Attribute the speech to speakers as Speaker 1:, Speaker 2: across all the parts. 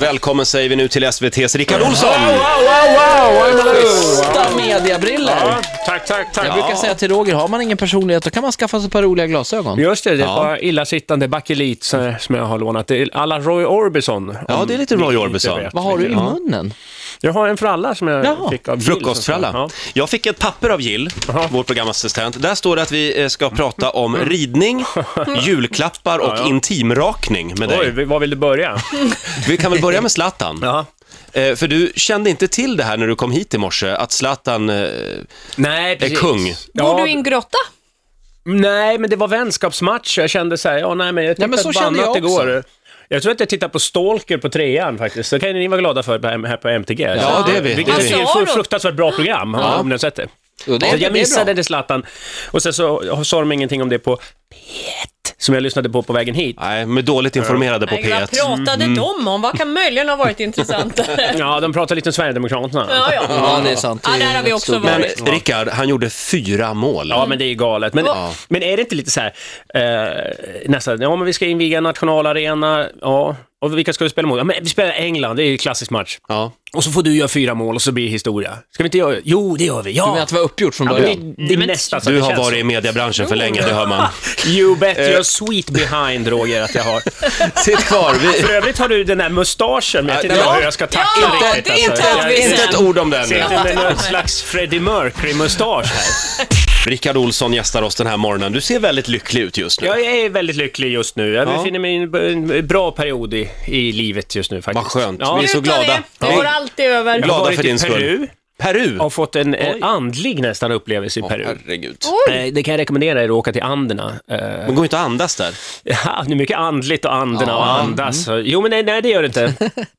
Speaker 1: välkommen säger vi nu till SVT's Rickard Olsson!
Speaker 2: Schyssta mediabriller.
Speaker 3: Tack, tack, tack.
Speaker 2: Jag brukar säga till Roger, har man ingen personlighet då kan man skaffa sig ett par roliga glasögon.
Speaker 3: Just det, det är ett par illasittande bakelit som som jag har lånat. Det är Alla Roy Orbison.
Speaker 1: Ja, det är lite Roy Orbison.
Speaker 2: Vad har du i munnen?
Speaker 3: Jag har en för alla som jag
Speaker 2: Jaha,
Speaker 3: fick av Jill,
Speaker 1: Frukostfralla.
Speaker 3: så att säga.
Speaker 1: Jag fick ett papper av Jill, vår programassistent. Där står det att vi eh, ska prata om
Speaker 3: Mm.
Speaker 1: ridning, julklappar och intimrakning med
Speaker 3: Ja. Oj,
Speaker 1: dig.
Speaker 3: vi- var vill du börja?
Speaker 1: Vi kan väl börja med Zlatan.
Speaker 3: Ja.
Speaker 1: Eh, För du kände inte till det här när du kom hit i morse, att Zlatan... eh,
Speaker 3: Nej,
Speaker 1: precis. kung.
Speaker 3: Ja,
Speaker 4: Bor du i en grotta?
Speaker 3: Nej, men det var vänskapsmatch. Jag kände så här, ja, nej, men jag tittade
Speaker 2: men så
Speaker 3: på
Speaker 2: kände
Speaker 3: annat
Speaker 2: jag också.
Speaker 3: igår. Jag tror att jag tittade på Stalker på trean faktiskt. Det kan ni vara glada för på M- här på MTG.
Speaker 1: Ja, det är vi.
Speaker 3: Vilket
Speaker 1: Det är
Speaker 4: vi.
Speaker 3: är ett fu- fruktansvärt bra program, om ni har sett det.
Speaker 2: Jo, det är-
Speaker 3: så
Speaker 2: det är
Speaker 3: jag missade det Zlatan. Och sen så sa de ingenting om det på P1, som jag lyssnade på på vägen hit.
Speaker 1: Nej, med dåligt informerade på
Speaker 4: Nej, vad
Speaker 1: P1.
Speaker 4: pratade de om? Vad kan möjligen ha varit intressant? ja,
Speaker 3: Ja, de pratade lite om Sverigedemokraterna.
Speaker 4: ja.
Speaker 2: Ja, det är sant.
Speaker 4: Ja,
Speaker 2: Det är
Speaker 4: där har
Speaker 2: rätt
Speaker 4: vi också
Speaker 2: stor-
Speaker 1: Men
Speaker 4: varit.
Speaker 1: Rickard, han gjorde fyra mål.
Speaker 3: Ja, men det är ju galet. Men, men är det inte lite så här, eh, nästan, ja men vi ska inviga en nationalarena, ja, och vilka ska vi spela mot? Ja, men vi spelar England, det är ju en klassisk match.
Speaker 1: Ja.
Speaker 3: Och så får du göra fyra mål och så blir det historia. Ska vi inte göra? Jo, det gör vi.
Speaker 2: Du menar
Speaker 3: Ja!
Speaker 2: att det var uppgjort från
Speaker 3: ja men
Speaker 2: början?
Speaker 3: det, det är nästan så Mm.
Speaker 1: Du
Speaker 3: det
Speaker 1: har
Speaker 3: känns.
Speaker 1: varit Eh. i mediebranschen för länge, det hör man.
Speaker 3: You bet you're sweet behind, Roger, att jag har.
Speaker 1: Sitt kvar. Vi...
Speaker 3: För övrigt har du den där mustaschen, men jag vet inte
Speaker 1: Ja.
Speaker 3: hur jag ska tackla
Speaker 4: Ja,
Speaker 3: riktigt. alltså.
Speaker 4: det tar
Speaker 3: Jag-
Speaker 4: vi sen.
Speaker 1: Inte ett ord om den.
Speaker 3: jag ser inte någon slags Freddie Mercury-mustasch här.
Speaker 1: Rickard Olsson gästar oss den här morgonen. Du ser väldigt lycklig ut just nu.
Speaker 3: Jag är väldigt lycklig just nu. Jag
Speaker 1: Ja.
Speaker 3: befinner mig i en- en bra period i, i livet just nu faktiskt.
Speaker 1: Vad skönt.
Speaker 3: Ja.
Speaker 1: Vi är så
Speaker 4: Utan
Speaker 1: glada.
Speaker 4: Det, det går alltid över.
Speaker 3: Jag
Speaker 1: glada
Speaker 3: har varit
Speaker 1: för din
Speaker 3: i
Speaker 1: skull.
Speaker 3: Peru
Speaker 1: Peru.
Speaker 3: och fått en eh, andlig nästan upplevelse i Peru.
Speaker 1: herregud.
Speaker 3: Eh, Det kan jag rekommendera er att åka till Anderna. Eh,
Speaker 1: Men går inte att andas där.
Speaker 3: Ja, det är mycket andligt och Anderna och
Speaker 1: Mm.
Speaker 3: andas. Jo, men nej, nej, det gör det inte.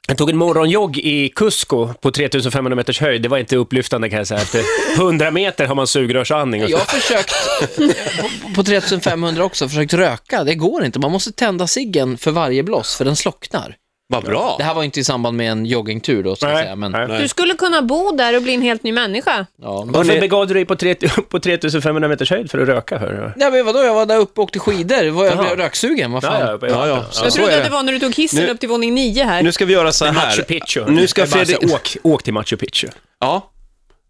Speaker 3: Jag tog en morgonjogg i Cusco på 3500 meters höjd. Det var inte upplyftande kan jag säga. Efter 100 meter har man sugrörsandning. Och så.
Speaker 2: Jag har försökt på- på 3500 också, försökt röka. Det går inte. Man måste tända ciggen för varje bloss, för den slocknar.
Speaker 1: Vad bra.
Speaker 2: Det här var inte i samband med en joggingtur då, ska jag
Speaker 3: Nej,
Speaker 2: säga.
Speaker 3: nej.
Speaker 2: Men,
Speaker 4: Du skulle kunna bo där och bli en helt ny människa.
Speaker 2: ja.
Speaker 3: Varför
Speaker 1: Hörrni-
Speaker 3: begav du dig på, 3, på 3500 meters höjd för att röka? Hör?
Speaker 2: Nej, men vadå, jag var där uppe och åkte skidor. Var jag
Speaker 3: Jaha.
Speaker 2: blev röksugen, vad fan.
Speaker 1: Ja, ja. Så
Speaker 4: Jag trodde
Speaker 1: är
Speaker 4: att det var när du tog hissen
Speaker 1: Nu-
Speaker 4: upp till våning nio här.
Speaker 1: Nu ska vi göra så
Speaker 3: Machu
Speaker 1: här.
Speaker 3: Picchu.
Speaker 1: Nu ska
Speaker 3: Jag bara
Speaker 1: Fredrik...
Speaker 3: säger, åk, åk till Machu Picchu.
Speaker 1: Ja.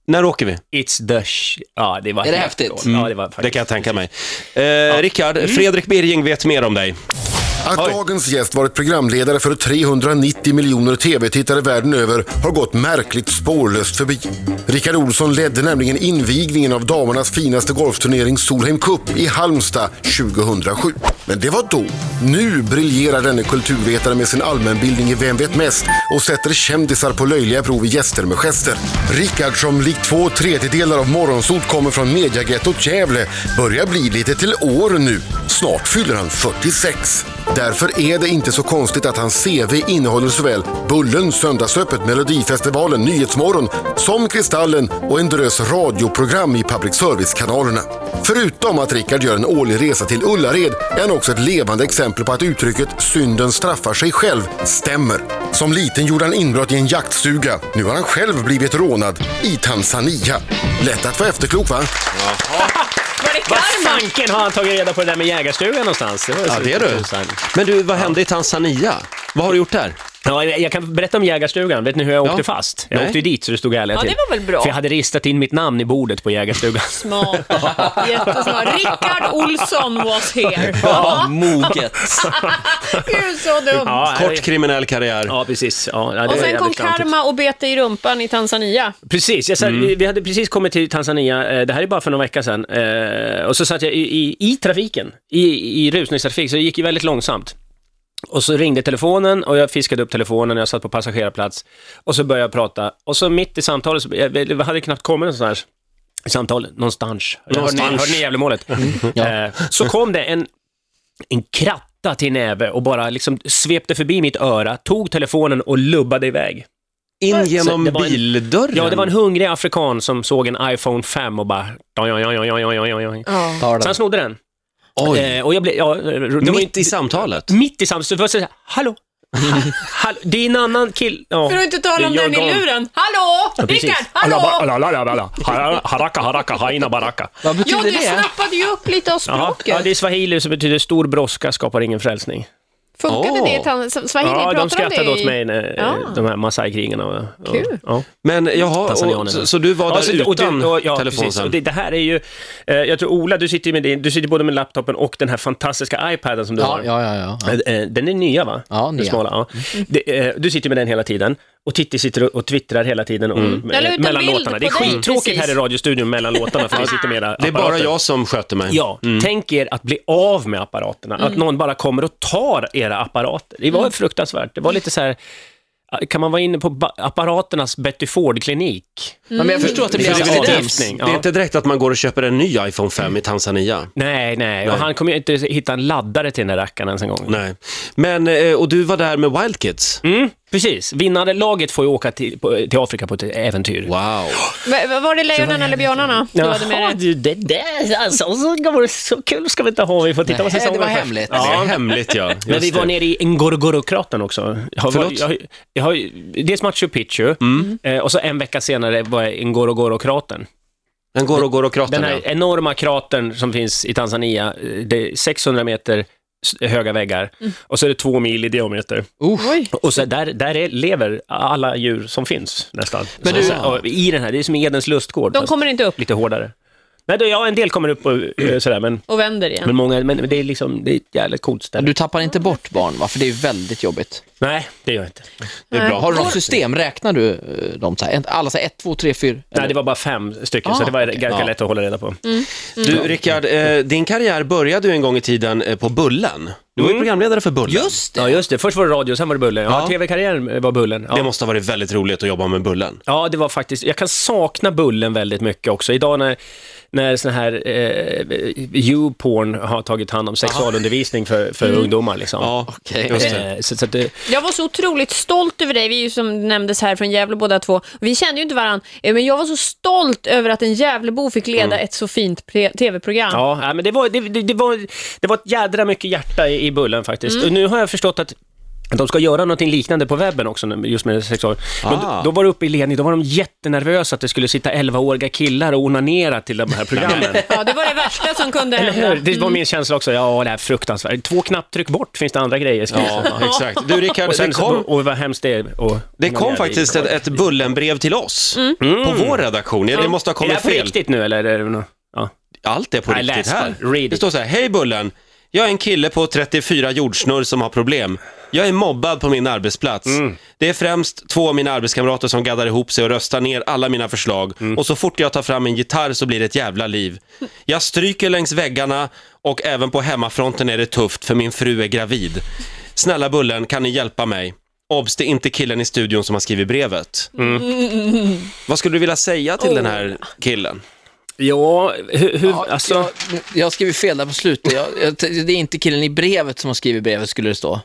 Speaker 1: När åker vi?
Speaker 3: It's the... Sh- ja, det var
Speaker 2: Är det
Speaker 3: helt
Speaker 2: häftigt?
Speaker 3: dåligt. Ja, det var
Speaker 1: Mm. Det
Speaker 3: faktiskt...
Speaker 1: kan jag tänka mig. Eh, Rickard,
Speaker 3: Mm.
Speaker 1: Fredrik Birging vet mer om dig.
Speaker 5: Att dagens gäst varit programledare för 390 miljoner tv-tittare världen över har gått märkligt spårlöst förbi. Rickard Olsson ledde nämligen invigningen av damernas finaste golfturnering Solheim Cup i Halmstad 2007. Men det var då. Nu briljerar denne kulturvetare med sin allmänbildning i Vem vet mest och sätter kändisar på löjliga prov i Gäster med gester. Rickard som likt två tredjedelar av Morgonsot kommer från mediagettot Gävle börjar bli lite till år nu. Snart fyller han 46. Därför är det inte så konstigt att hans CV innehåller såväl Bullen, Söndagsöppet, Melodifestivalen, Nyhetsmorgon som Kristallen och en drös radioprogram i public service-kanalerna. Förutom att Rickard gör en årlig resa till Ullared är han också ett levande exempel på att uttrycket “synden straffar sig själv” stämmer. Som liten gjorde han inbrott i en jaktstuga. Nu har han själv blivit rånad i Tanzania. Lätt att vara efterklok va?
Speaker 4: Var det
Speaker 3: Vad
Speaker 4: karma?
Speaker 3: fanken har han tagit reda på det där med jägarstugan någonstans? Det var ju
Speaker 1: Ja,
Speaker 3: så
Speaker 1: det är du.
Speaker 3: intressant.
Speaker 1: Men du, vad hände i Tanzania? Vad har du gjort där?
Speaker 3: Ja, jag jag kan berätta om jägarstugan. Vet ni hur jag åkte fast? Jag
Speaker 1: Nej.
Speaker 3: åkte ju dit så det stod ärliga
Speaker 4: Ja,
Speaker 3: till.
Speaker 4: det var väl bra.
Speaker 3: För jag hade ristat in mitt namn i bordet på jägarstugan.
Speaker 4: Smart. Jättesmart. Rickard Olsson was here. Ja.
Speaker 2: Moget.
Speaker 4: Gud, så dumt.
Speaker 3: Ja,
Speaker 1: Kort
Speaker 3: jag-
Speaker 1: kriminell karriär.
Speaker 3: Ja, precis. Ja, ja, det var
Speaker 4: Och sen kom
Speaker 3: jävligt klantigt.
Speaker 4: karma och bet dig i rumpan i Tanzania.
Speaker 3: Precis, jag sa, vi, vi hade precis kommit till Tanzania, eh, det här är bara för någon vecka sedan. Eh, och så satt jag i, i, i trafiken, i, i rusningstrafik, så det gick ju väldigt långsamt. Och så ringde telefonen och jag fiskade upp telefonen, jag satt på passagerarplats och så började jag prata. Och så mitt i samtalet, så, jag, jag hade knappt kommit någon sån här samtal, någonstans. någonstans. Hörde, ni, hörde ni Gävlemålet? Eh, så kom det en en kratta till näve och bara liksom svepte förbi mitt öra, tog telefonen och lubbade iväg.
Speaker 1: In genom
Speaker 3: det var en-
Speaker 1: bildörren?
Speaker 3: Ja, det var en hungrig afrikan som såg en iPhone 5 och bara... Ja, ja, ja, ja, ja, ja, ja.
Speaker 2: Tar
Speaker 3: Så han
Speaker 2: den.
Speaker 3: snodde den.
Speaker 1: Oj,
Speaker 3: Eh, och jag blev... Ja, det var
Speaker 1: mitt
Speaker 3: ju-
Speaker 1: i samtalet?
Speaker 3: Mitt i samtalet. Det var så här, hallå? Ha- hallå? Det är en annan kill... Ja.
Speaker 4: För att inte tala om
Speaker 3: Det är
Speaker 4: den i
Speaker 3: Jordan.
Speaker 4: luren. Hallå!
Speaker 3: precis.
Speaker 4: Rickard, hallå!
Speaker 3: Haraka, haraka, haina, baraka.
Speaker 2: Vad
Speaker 4: Ja,
Speaker 2: betyder
Speaker 4: du
Speaker 2: det?
Speaker 4: snappade ju upp lite av
Speaker 3: Ja, ja,
Speaker 4: språket.
Speaker 3: det är swahili som betyder stor brådska skapar ingen frälsning.
Speaker 4: Funkade
Speaker 1: Åh.
Speaker 4: det i Tanzania? Swahili,
Speaker 3: Ja,
Speaker 4: pratar
Speaker 3: de skrattade
Speaker 4: det
Speaker 3: åt
Speaker 4: i-
Speaker 3: mig, när, eh,
Speaker 4: Ja.
Speaker 3: de här Maasai-krigarna. och- och-
Speaker 4: Kul.
Speaker 3: Ja.
Speaker 1: Men jaha, och,
Speaker 3: Tanzanianerna.
Speaker 1: så, så du var där
Speaker 3: så- och det-
Speaker 1: utan
Speaker 3: och- ja,
Speaker 1: telefon
Speaker 3: precis.
Speaker 1: sen?
Speaker 3: Och det, det här är ju, eh, jag tror Ola, du sitter, ju med din, du sitter både med laptopen och den här fantastiska iPaden som du
Speaker 2: Ja,
Speaker 3: har.
Speaker 2: ja, ja. ja, ja.
Speaker 3: Eh, eh, Den är nya va?
Speaker 2: Ja,
Speaker 3: Den
Speaker 2: nya.
Speaker 3: Smala, ja. Det, eh, du sitter med den hela tiden och Titti sitter och- och twittrar hela tiden om,
Speaker 1: Mm.
Speaker 3: eh,
Speaker 4: Jag la ut en
Speaker 3: mellan
Speaker 4: bild
Speaker 3: låtarna. Det är
Speaker 4: på dig
Speaker 3: skittråkigt
Speaker 4: precis.
Speaker 3: här i radiostudion mellan låtarna för vi sitter med era
Speaker 1: Det är bara
Speaker 3: apparater.
Speaker 1: jag Mm. som sköter mig.
Speaker 3: Ja, tänk er att bli av med apparaterna,
Speaker 4: Mm.
Speaker 3: att någon bara kommer och tar era apparater. Det var fruktansvärt. Det var lite så här, eh, kan man vara inne på ba- apparaternas Betty Ford-klinik?
Speaker 2: Ja, Men jag förstår att det
Speaker 1: Det
Speaker 2: blir
Speaker 1: är,
Speaker 3: finns
Speaker 2: abstinens.
Speaker 3: avgiftning.
Speaker 1: det är inte direkt att man går och köper en ny iPhone 5 i Tanzania.
Speaker 3: Nej, nej, och han kommer ju inte hitta en laddare till den där rackaren ens en gång.
Speaker 1: Nej. Men, eh, och du var där med Wild Kids.
Speaker 3: Mm, precis, vinnande laget får ju åka till, på, till Afrika på ett äventyr.
Speaker 1: Wow.
Speaker 4: Men Var det lejonen eller björnarna du hade med
Speaker 3: du,
Speaker 4: dig?
Speaker 3: det där alltså, så, går det- så kul ska vi inte ha, vi får titta på
Speaker 2: Nej, det
Speaker 3: säsongen
Speaker 2: var
Speaker 3: först.
Speaker 2: hemligt.
Speaker 1: Det
Speaker 3: Ja,
Speaker 1: är hemligt ja.
Speaker 3: Men
Speaker 1: Just
Speaker 3: vi var
Speaker 1: det.
Speaker 3: nere i Ngorongoro-kratern också. Jag har,
Speaker 1: Förlåt?
Speaker 3: jag, har- jag har, dels Machu Picchu, eh, och så en vecka senare var jag i Ngorongoro-kratern.
Speaker 1: Den går och går och
Speaker 3: Den
Speaker 1: kratar.
Speaker 3: här
Speaker 1: ja.
Speaker 3: enorma kratern som finns i Tanzania, eh, det är 600 meter s- höga väggar och så är det två mil i diameter.
Speaker 4: Oj.
Speaker 3: Och så där, där är, lever alla djur som finns nästan.
Speaker 2: Men
Speaker 3: Så-
Speaker 2: du-
Speaker 3: så- och I den här, det är som Edens lustgård.
Speaker 4: De
Speaker 3: fast
Speaker 4: kommer inte upp
Speaker 3: Lite hårdare. Nej, då, ja, en del kommer upp och eh, sådär, men,
Speaker 4: och vänder igen.
Speaker 3: men många, men det är liksom, det är ett jävligt coolt ställe.
Speaker 2: Du tappar inte bort barn, va? För det är ju väldigt jobbigt.
Speaker 3: Nej, det gör jag inte.
Speaker 1: Det är bra.
Speaker 2: Har du
Speaker 3: Mm.
Speaker 2: något system? Räknar du eh, dem så här? En- Alla så här, ett, två, tre, fyra?
Speaker 3: Nej, det var bara fem stycken, så
Speaker 2: Ah,
Speaker 3: det var
Speaker 2: okej.
Speaker 3: ganska
Speaker 1: Ja.
Speaker 3: lätt att hålla reda på.
Speaker 4: Mm.
Speaker 1: Du, Rickard, eh, din karriär började ju en gång i tiden eh, på Bullen. Du var ju programledare för Bullen.
Speaker 2: Just det!
Speaker 3: Ja, Mm. just det. Först var det radio, sen var det Bullen. Ja,
Speaker 1: Ja.
Speaker 3: tv-karriären var Bullen.
Speaker 1: Det
Speaker 3: Ja.
Speaker 1: måste ha varit väldigt roligt att jobba med Bullen.
Speaker 3: ja, det var faktiskt... Jag kan sakna Bullen väldigt mycket också. Idag när, när sån här eh, U-porn har tagit hand om sexualundervisning för, för
Speaker 4: Mm.
Speaker 3: ungdomar. Liksom.
Speaker 1: Ja,
Speaker 2: Okej.
Speaker 1: just det.
Speaker 3: Eh, Så, så att det,
Speaker 4: Jag var så otroligt stolt över dig. Vi är ju som nämndes här från Gävle båda två. Vi kände ju inte varandra, men jag var så stolt över att en Gävlebo fick leda ett så fint pre- tv-program.
Speaker 3: Mm. ja, nej, men det var, det, det, det, var, det var ett jädra mycket hjärta i, i Bullen faktiskt. Och nu har jag förstått att att de ska göra någonting liknande på webben också, nu, just med sexual. Men
Speaker 1: Ah.
Speaker 3: då, då var det uppe i ledning, då var de jättenervösa att det skulle sitta 11-åriga killar och onanera till de här programmen.
Speaker 4: Ja, det var det värsta som kunde
Speaker 3: Eller hur?
Speaker 4: hända.
Speaker 3: Det var min känsla också. Ja, det här är fruktansvärt. Två knapptryck bort finns det andra grejer. ska jag säga.
Speaker 1: Ja, exakt. Du Rickard,
Speaker 3: Och sen
Speaker 1: det kom,
Speaker 3: så, och vad hemskt det är. Och,
Speaker 1: det kom faktiskt ett, ett Bullenbrev till oss på vår redaktion. Ja, Det måste ha
Speaker 3: Mm. Är det
Speaker 1: kommit
Speaker 3: här på
Speaker 1: fel.
Speaker 3: riktigt nu eller? Är det nå- ja.
Speaker 1: Allt är på
Speaker 3: Nej,
Speaker 1: riktigt
Speaker 3: läs
Speaker 1: här.
Speaker 3: bara. Read
Speaker 1: Det
Speaker 3: it.
Speaker 1: står så här, hej Bullen. Jag är en kille på 34 jordsnurr som har problem. Jag är mobbad på min arbetsplats.
Speaker 3: Mm.
Speaker 1: Det är främst två av mina arbetskamrater som gaddar ihop sig och röstar ner alla mina förslag.
Speaker 3: Mm.
Speaker 1: Och så fort jag tar fram en gitarr så blir det ett jävla liv. Jag stryker längs väggarna och även på hemmafronten är det tufft för min fru är gravid. Snälla Bullen, kan ni hjälpa mig? Obs, det är inte killen i studion som har skrivit brevet.
Speaker 3: Mm.
Speaker 1: Vad skulle du vilja säga till den här killen?
Speaker 3: ja, hur, hur
Speaker 2: Ja,
Speaker 3: alltså...
Speaker 2: jag, jag skrev ju fel där på slutet. Jag, jag, det är inte killen i brevet som har skrivit brevet, skulle det stå.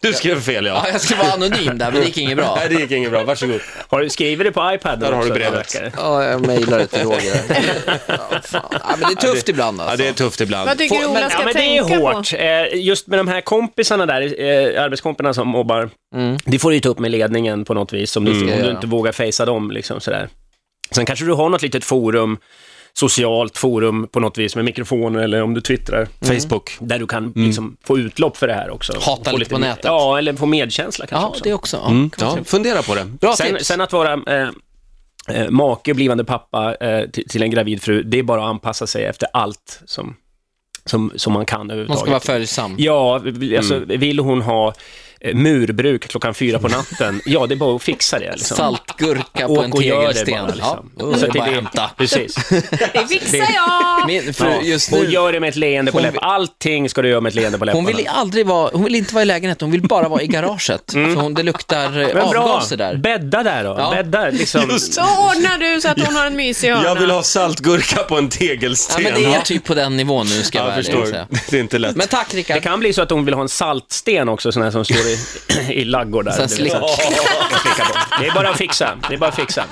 Speaker 1: Du skrev fel ja.
Speaker 2: Ja, jag skulle vara anonym där, men det gick inget bra.
Speaker 1: Nej, det gick inget bra. Varsågod.
Speaker 3: Har du skrivit det på iPaden
Speaker 1: Där har du
Speaker 3: också?
Speaker 1: brevet.
Speaker 3: verkar det.
Speaker 2: Ja, jag mejlade till Roger. Ja, fan. Ja, men det är tufft ibland
Speaker 1: Ja,
Speaker 2: alltså.
Speaker 1: det är tufft ibland.
Speaker 4: Vad tycker du
Speaker 3: Få-
Speaker 4: Ola ska
Speaker 3: ja, men det
Speaker 4: tänka
Speaker 3: är
Speaker 4: på?
Speaker 3: hårt. Eh, Just med de här kompisarna där, eh, arbetskompisarna som mobbar,
Speaker 2: Mm.
Speaker 3: det får du ju ta upp med ledningen på något vis, om du, om du
Speaker 2: Ja.
Speaker 3: inte vågar fejsa dem. Liksom, sådär. Sen kanske du har något litet forum, socialt forum på något vis med mikrofoner eller om du twittrar,
Speaker 1: Facebook.
Speaker 3: där du kan liksom, få utlopp för det här också.
Speaker 2: Mm. Hata
Speaker 3: Och få
Speaker 2: lite på nätet.
Speaker 3: Ja, eller få medkänsla kanske
Speaker 2: Ja,
Speaker 3: också. Mm.
Speaker 2: det också. Ja.
Speaker 1: Ja, fundera på det.
Speaker 2: Bra
Speaker 3: Sen,
Speaker 2: tips.
Speaker 3: sen att vara eh, eh, make, blivande pappa eh, till, till en gravid fru, det är bara att anpassa sig efter allt som, som, som man kan överhuvudtaget.
Speaker 2: Man ska vara följsam.
Speaker 3: Ja, vi- alltså,
Speaker 2: Mm.
Speaker 3: vill hon ha eh, murbruk klockan fyra på natten, ja det är bara att fixa det. Liksom.
Speaker 2: Saltgurka
Speaker 3: Åk
Speaker 2: på en
Speaker 3: och gör det
Speaker 2: tegelsten.
Speaker 3: bara. Liksom.
Speaker 2: Ja, så
Speaker 3: Så
Speaker 2: det är bara att hämta.
Speaker 3: Precis.
Speaker 4: Det fixar jag!
Speaker 2: Min fru
Speaker 3: Ja.
Speaker 2: just
Speaker 3: och
Speaker 2: nu,
Speaker 3: gör det med ett leende på
Speaker 2: Hon
Speaker 3: läpparna. Allting ska du göra med ett leende på läpparna.
Speaker 2: hon vill aldrig vara, hon vill inte vara i lägenheten, hon vill bara vara i garaget. För hon, det luktar eh,
Speaker 3: Mm. Men bra,
Speaker 2: avgaser där.
Speaker 3: bädda där då.
Speaker 2: Ja.
Speaker 3: Bädda liksom.
Speaker 4: Så ordnar du så att hon har en mysig hörna.
Speaker 1: Jag vill ha saltgurka på en
Speaker 2: Ja,
Speaker 1: tegelsten.
Speaker 2: men det är typ på den nivån nu, ska jag
Speaker 1: Ja,
Speaker 2: vara
Speaker 1: jag
Speaker 2: ärlig och
Speaker 1: förstår.
Speaker 2: säga.
Speaker 1: Det är inte lätt.
Speaker 2: Men tack
Speaker 3: Det
Speaker 2: Rickard.
Speaker 3: kan bli så att hon vill ha en saltsten också, sån här som står i, i laggård där.
Speaker 2: Sen
Speaker 3: Det är liksom- Slicka på. Det är bara att fixa. Det är bara att fixa.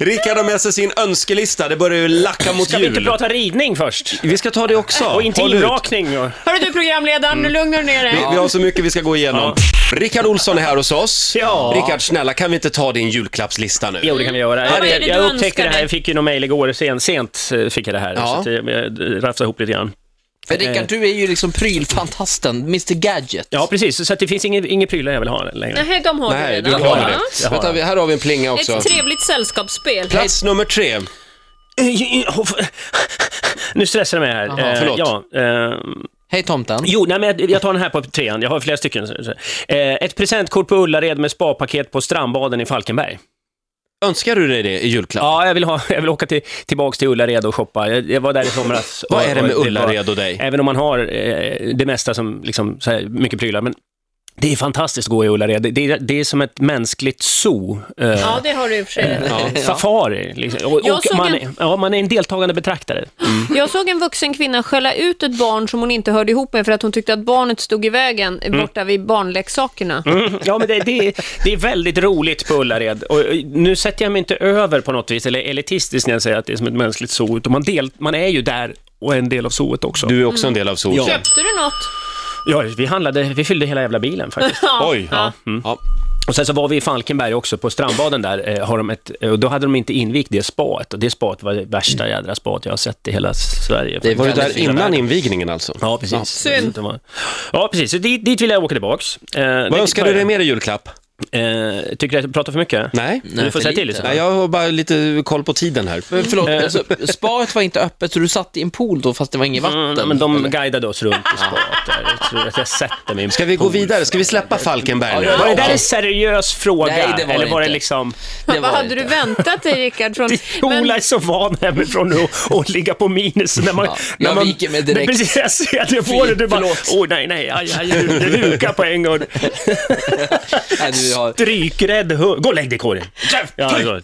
Speaker 1: Rickard har med sig sin önskelista. Det börjar ju lacka mot
Speaker 3: Ska vi
Speaker 1: jul.
Speaker 3: inte prata ridning först?
Speaker 1: Vi ska ta det också.
Speaker 3: Och
Speaker 1: Håll ut.
Speaker 3: intimvrakning och...
Speaker 4: Hörru du programledaren,
Speaker 3: Mm.
Speaker 4: nu lugnar du ner dig.
Speaker 1: Vi, vi har så mycket vi ska gå igenom. Rickard Olsson är här hos oss.
Speaker 3: Ja.
Speaker 1: Rickard, snälla kan vi inte ta din julklappslista nu?
Speaker 3: Jo, det kan vi göra.
Speaker 4: vad är
Speaker 3: Jag,
Speaker 4: det
Speaker 3: jag
Speaker 4: du
Speaker 3: upptäckte
Speaker 4: önskar
Speaker 3: det här,
Speaker 4: dig?
Speaker 3: jag fick ju någon mejl igår, sen, sent eh, fick jag det här.
Speaker 1: Ja.
Speaker 3: Så att jag, jag rafsade ihop lite grann.
Speaker 2: För Rickard, du är ju liksom prylfantasten, Mr Gadget.
Speaker 3: Ja, precis. Så att det finns ingen, ingen prylar jag vill ha längre.
Speaker 4: Nej, de har
Speaker 1: Nej,
Speaker 4: du
Speaker 1: du
Speaker 4: redan.
Speaker 1: har
Speaker 4: Ja.
Speaker 1: det.
Speaker 3: Jag har
Speaker 1: Vänta, vi- här har vi en plinga också.
Speaker 4: Ett trevligt sällskapsspel.
Speaker 1: Plats nummer tre.
Speaker 3: Eh, oh, Nu stressar det mig här.
Speaker 2: Jaha,
Speaker 3: Eh,
Speaker 1: förlåt.
Speaker 3: ja, ehm,
Speaker 2: Hej tomten.
Speaker 3: Jo, nej, men jag, jag tar den här på trean. Jag har flera stycken. Eh, ett presentkort på Ullared med spapaket på strandbaden i Falkenberg.
Speaker 1: Önskar du dig det i julklapp?
Speaker 3: Ja, jag vill, ha, jag vill åka till, tillbaka till Ullared och shoppa. Jag, jag var där i somras.
Speaker 1: Vad
Speaker 3: och-
Speaker 1: är det med
Speaker 3: och-
Speaker 1: Ullared och dig?
Speaker 3: Även om man har eh, det mesta som, liksom, så här, mycket prylar. Men det är fantastiskt att gå i Ullared. Det, det, är- det är som ett mänskligt zoo. Eh,
Speaker 4: Ja, det har du i och för sig. rätt i.
Speaker 3: eh, Safari, liksom. och,
Speaker 4: Jag
Speaker 3: och
Speaker 4: såg
Speaker 3: man,
Speaker 4: en-
Speaker 3: ja, man är en deltagande betraktare.
Speaker 4: Jag såg en vuxen kvinna skälla ut ett barn som hon inte hörde ihop med för att hon tyckte att barnet stod i vägen borta vid barnleksakerna.
Speaker 3: Mm, Ja, men det, det, är- det är väldigt roligt på Ullared. Och eh, nu sätter jag mig inte över på något vis, eller elitistiskt när jag säger att det är som ett mänskligt zoo, utan man, del, man är ju där och är en del av zooet också.
Speaker 1: Du är också en del av solen.
Speaker 3: Ja.
Speaker 4: Köpte du något?
Speaker 3: Ja, vi handlade, vi fyllde hela jävla bilen faktiskt.
Speaker 4: Ja.
Speaker 1: Oj.
Speaker 4: Ja.
Speaker 1: Ja. Mm.
Speaker 3: Och sen så var vi i Falkenberg också, på strandbaden där, eh, har de ett, eh, och då hade de inte invigt det spaet, och det spaet var det värsta jädra spaet jag har sett i hela Sverige.
Speaker 2: Det är
Speaker 1: Var du
Speaker 2: väldigt
Speaker 1: där innan invigningen alltså?
Speaker 3: Ja, precis.
Speaker 4: Synd.
Speaker 3: Det var- Ja, precis. Så dit, dit vill jag åka tillbaks. Eh,
Speaker 1: Vad
Speaker 3: det-
Speaker 1: önskar du dig mer i julklapp?
Speaker 3: Eh, tycker du att jag pratar för mycket?
Speaker 1: Nej?
Speaker 3: du
Speaker 2: Nej,
Speaker 3: får
Speaker 2: för
Speaker 3: säga till
Speaker 2: lite.
Speaker 3: lite.
Speaker 1: Nej, jag har bara lite koll på tiden här.
Speaker 2: Men förlåt,
Speaker 3: Eh.
Speaker 2: alltså, spaet var inte öppet så du satt i en pool då fast det var inget vatten?
Speaker 3: Mm, men de
Speaker 2: eller?
Speaker 3: guidade oss runt i spaet där. Jag tror att jag sätter mig i en
Speaker 1: Ska vi gå
Speaker 3: pool.
Speaker 1: vidare? Ska vi släppa Falkenberg nu?
Speaker 2: Ja,
Speaker 3: Var det där
Speaker 2: Ja.
Speaker 3: en seriös fråga?
Speaker 2: Nej, det var
Speaker 3: Eller
Speaker 2: det
Speaker 3: var det
Speaker 2: inte.
Speaker 3: liksom...
Speaker 2: Det var
Speaker 4: Vad hade
Speaker 2: det
Speaker 4: du
Speaker 2: inte.
Speaker 4: väntat dig, Rickard? Från...
Speaker 3: Ola är så van hemifrån nu att- att ligga på minus. När man,
Speaker 2: Ja,
Speaker 3: när
Speaker 2: jag
Speaker 3: man,
Speaker 2: viker mig
Speaker 3: Men
Speaker 2: direkt.
Speaker 3: Precis, jag ser att jag får det. Du bara,
Speaker 2: Förlåt.
Speaker 3: åh oh, nej, nej, aj, aj, du, du hukar på en gång.
Speaker 2: Nej, du har...
Speaker 3: Strykrädd hund. Gå och lägg dig i korgen. Ja, det går.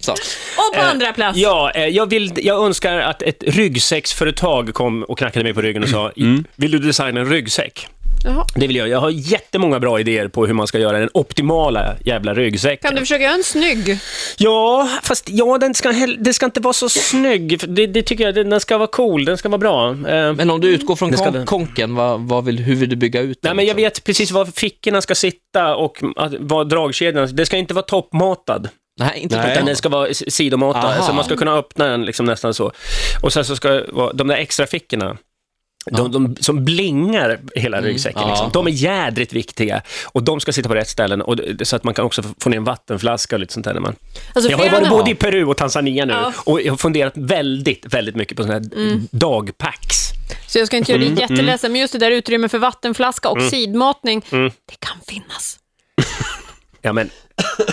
Speaker 2: Så.
Speaker 4: Och på andra plats.
Speaker 3: Ja, eh, jag, vill, jag önskar att ett ryggsäcksföretag kom och knackade mig på ryggen och sa, vill du designa en ryggsäck?
Speaker 4: Jaha.
Speaker 3: Det vill jag. Jag har jättemånga bra idéer på hur man ska göra den optimala jävla ryggsäcken.
Speaker 4: Kan du försöka göra en snygg?
Speaker 3: Ja, fast ja, den ska, hell- det ska inte vara så snygg. för Det, det tycker jag, den ska vara cool, den ska vara bra. Eh,
Speaker 2: Men om du utgår från
Speaker 3: ska
Speaker 2: kon-
Speaker 3: den-
Speaker 2: konken, vad, vad vill, hur vill du bygga ut den?
Speaker 3: Nej, men jag
Speaker 2: liksom?
Speaker 3: vet precis var fickorna ska sitta och att, var dragkedjan... Det ska inte vara toppmatad,
Speaker 2: Nej, inte
Speaker 1: Nej.
Speaker 2: på
Speaker 3: utan
Speaker 2: den.
Speaker 3: den ska vara s- sidomatad.
Speaker 2: Aha.
Speaker 3: Så man ska kunna öppna den liksom nästan så. Och sen så ska det vara- de där extra fickorna, de, de som blingar hela ryggsäcken,
Speaker 2: Mm. Ja.
Speaker 3: liksom, de är jädrigt viktiga. Och de ska sitta på rätt ställen, och, det- så att man kan också få ner en vattenflaska och lite sånt där. När man,
Speaker 4: Alltså,
Speaker 3: jag har ju
Speaker 4: flera-
Speaker 3: varit både i Peru och Tanzania nu
Speaker 4: Ja. Mm.
Speaker 3: och jag har funderat väldigt, väldigt mycket på sådana här dagpacks.
Speaker 4: Så jag ska inte göra
Speaker 3: Mm,
Speaker 4: dig jätteledsen, men just det där utrymme för vattenflaska och sidmatning,
Speaker 3: Mm.
Speaker 4: det kan finnas.
Speaker 3: Ja, men,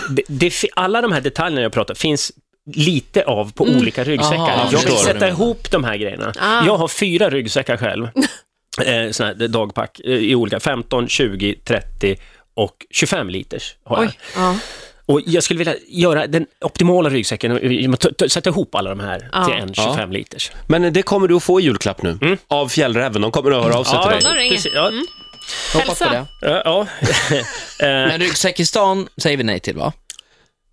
Speaker 3: det, det, fi- alla de här detaljerna jag pratar finns lite av på
Speaker 4: Mm.
Speaker 3: olika ryggsäckar.
Speaker 2: Aha, jag
Speaker 3: jag vill
Speaker 1: förstår.
Speaker 3: sätta ihop de här grejerna.
Speaker 4: Ah.
Speaker 3: Jag har fyra ryggsäckar själv, eh, såna här dagpack, eh, i olika 15, 20, 30 och 25 liters har jag.
Speaker 4: Oj. Ja.
Speaker 3: Och jag skulle vilja göra den optimala ryggsäcken, genom att t- t- sätta ihop alla de här
Speaker 4: Ja.
Speaker 3: till en 25 liters.
Speaker 1: Men det kommer du att få i julklapp nu. Av fjällräven. De kommer att höra av sig till dig.
Speaker 4: de ringer. Mm.
Speaker 3: precis, Mm. ja,
Speaker 2: Hoppas på
Speaker 4: Hälsa.
Speaker 2: det.
Speaker 3: Ja, ja. Eh,
Speaker 2: Men ryggsäckistan säger vi nej till va?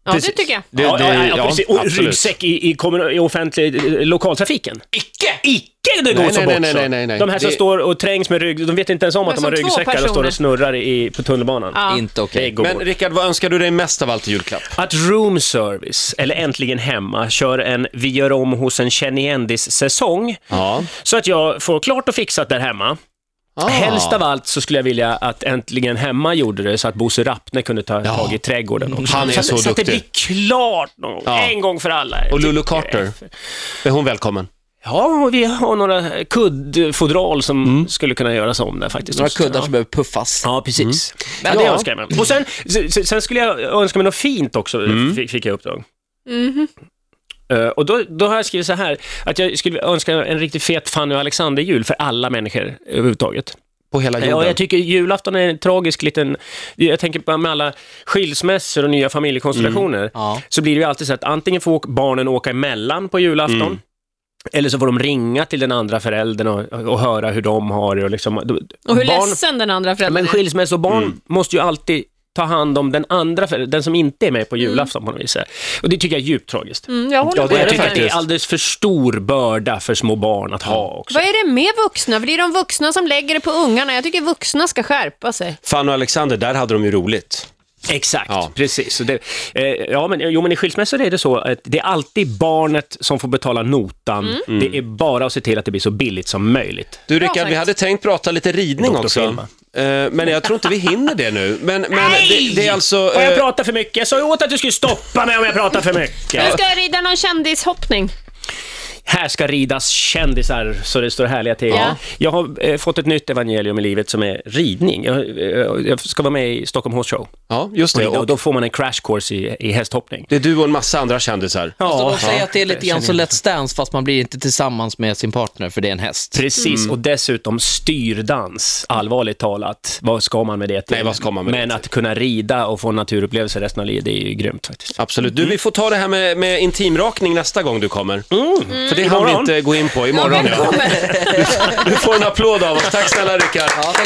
Speaker 4: ja, det
Speaker 3: Precis.
Speaker 4: tycker jag.
Speaker 1: Det-
Speaker 3: ja,
Speaker 1: det-
Speaker 3: ja, ja,
Speaker 1: ja,
Speaker 3: precis. Och
Speaker 1: absolut.
Speaker 3: ryggsäck i, i, kommun- i offentlig eh, lokaltrafiken. Icke! Icke det går
Speaker 1: Nej,
Speaker 3: så
Speaker 1: nej,
Speaker 3: bort
Speaker 1: nej,
Speaker 3: så.
Speaker 1: nej, nej, nej.
Speaker 3: De här som
Speaker 1: Det-
Speaker 3: står och trängs med rygg, de vet inte ens om att de
Speaker 4: som
Speaker 3: har
Speaker 4: två
Speaker 3: ryggsäckar och står
Speaker 4: personer.
Speaker 3: och snurrar i, på tunnelbanan.
Speaker 4: Ja.
Speaker 2: Inte
Speaker 3: Det
Speaker 2: okej.
Speaker 3: går
Speaker 1: Men
Speaker 3: bort.
Speaker 1: Rickard, vad önskar du dig mest av allt i julklapp?
Speaker 3: Att room service, eller äntligen hemma, kör en vi gör om hos en känn igen-säsong.
Speaker 1: Ja.
Speaker 3: Så att jag får klart och fixat där hemma.
Speaker 1: Ah.
Speaker 3: Helst av allt så skulle jag vilja att Äntligen Hemma gjorde det så att Bosse Rappne kunde ta tag i trädgården också.
Speaker 1: Han är
Speaker 3: så, att-
Speaker 1: så
Speaker 3: så att det blir
Speaker 1: duktig.
Speaker 3: klart någon, gång,
Speaker 1: Ja.
Speaker 3: en gång för alla.
Speaker 1: Och Lulu Carter, är hon välkommen?
Speaker 3: Ja, och vi har några kuddfodral som skulle kunna göras om där faktiskt.
Speaker 2: Några kuddar
Speaker 3: Ja.
Speaker 2: som behöver puffas.
Speaker 3: Ja, precis.
Speaker 2: Men
Speaker 3: Ja, det
Speaker 2: ja.
Speaker 3: önskar jag mig. Och sen, sen, sen skulle jag önska mig något fint också, fick, fick jag i uppdrag. Eh, och då, då har jag skrivit så här, att jag skulle önska en riktigt fet Fanny och Alexander-jul för alla människor överhuvudtaget.
Speaker 1: På hela jorden?
Speaker 3: Ja, jag tycker julafton är en tragisk liten... Jag tänker på med alla skilsmässor och nya familjekonstellationer.
Speaker 2: Ja.
Speaker 3: Så blir det ju alltid så att antingen får åk- barnen åka emellan på julafton,
Speaker 4: Mm.
Speaker 3: eller så får de ringa till den andra föräldern och, och höra hur de har det. Och, liksom,
Speaker 4: Och hur Mm.
Speaker 3: barn,
Speaker 4: ledsen den andra
Speaker 3: Ja,
Speaker 4: föräldern
Speaker 3: Men
Speaker 4: är.
Speaker 3: skilsmässobarn måste ju alltid ta hand om den andra föräldern, den som inte är med på julafton på något vis. Och det tycker jag är djupt tragiskt.
Speaker 4: Mm, jag
Speaker 1: Ja,
Speaker 4: håller
Speaker 1: det
Speaker 3: Och
Speaker 4: med
Speaker 1: är
Speaker 3: jag
Speaker 4: dig
Speaker 3: tycker att det är
Speaker 4: faktiskt. Mm.
Speaker 3: alldeles för stor börda för små barn att ha också.
Speaker 4: Vad är det med vuxna? För det är de vuxna som lägger det på ungarna. Jag tycker vuxna ska skärpa sig.
Speaker 1: Fanny och Alexander, där hade de ju roligt.
Speaker 3: Exakt,
Speaker 1: Ja.
Speaker 3: precis. Så det, eh, ja, men, jo, men i skilsmässor är det så att det är alltid barnet som får betala notan.
Speaker 4: Mm.
Speaker 3: Det är bara att se till att det blir så billigt som möjligt.
Speaker 1: Du
Speaker 4: Bra
Speaker 1: Rickard, vi
Speaker 4: sagt.
Speaker 1: hade tänkt prata lite ridning
Speaker 3: Dr.
Speaker 1: också.
Speaker 3: Filma.
Speaker 1: Eh, men jag tror inte vi hinner det nu. Men, men det, det är alltså...
Speaker 3: Har jag
Speaker 1: eh,
Speaker 3: pratat för mycket? Jag sa ju åt att du skulle stoppa mig om jag pratar för mycket.
Speaker 4: Nu ska jag rida någon kändishoppning.
Speaker 3: Här ska ridas kändisar, så det står härliga till.
Speaker 4: Ja.
Speaker 3: Jag har eh, fått ett nytt evangelium i livet som är ridning. Jag, eh, jag ska vara med i Stockholm Horse Show.
Speaker 1: ja, just det.
Speaker 3: Och,
Speaker 1: Och
Speaker 3: då får man en crash course i, i hästhoppning.
Speaker 1: det är du och en massa andra kändisar.
Speaker 2: Så de säger
Speaker 3: ja.
Speaker 2: att det är lite grann som Let's Dance fast man blir inte tillsammans med sin partner för det är en häst.
Speaker 3: Precis,
Speaker 4: Mm.
Speaker 3: och dessutom styrdans, allvarligt talat. Vad ska man med det till?
Speaker 1: Nej, vad ska man med det
Speaker 3: Men
Speaker 1: till?
Speaker 3: att kunna rida och få naturupplevelser resten av livet, det är ju grymt faktiskt.
Speaker 1: Absolut. Du, vi får ta det här med, med intimrakning nästa gång du kommer. För det hann vi
Speaker 3: Mm. Imorgon.
Speaker 1: inte gå in på imorgon. Ja. Du får en applåd av oss. Tack snälla Rickard.
Speaker 2: Ja, tack.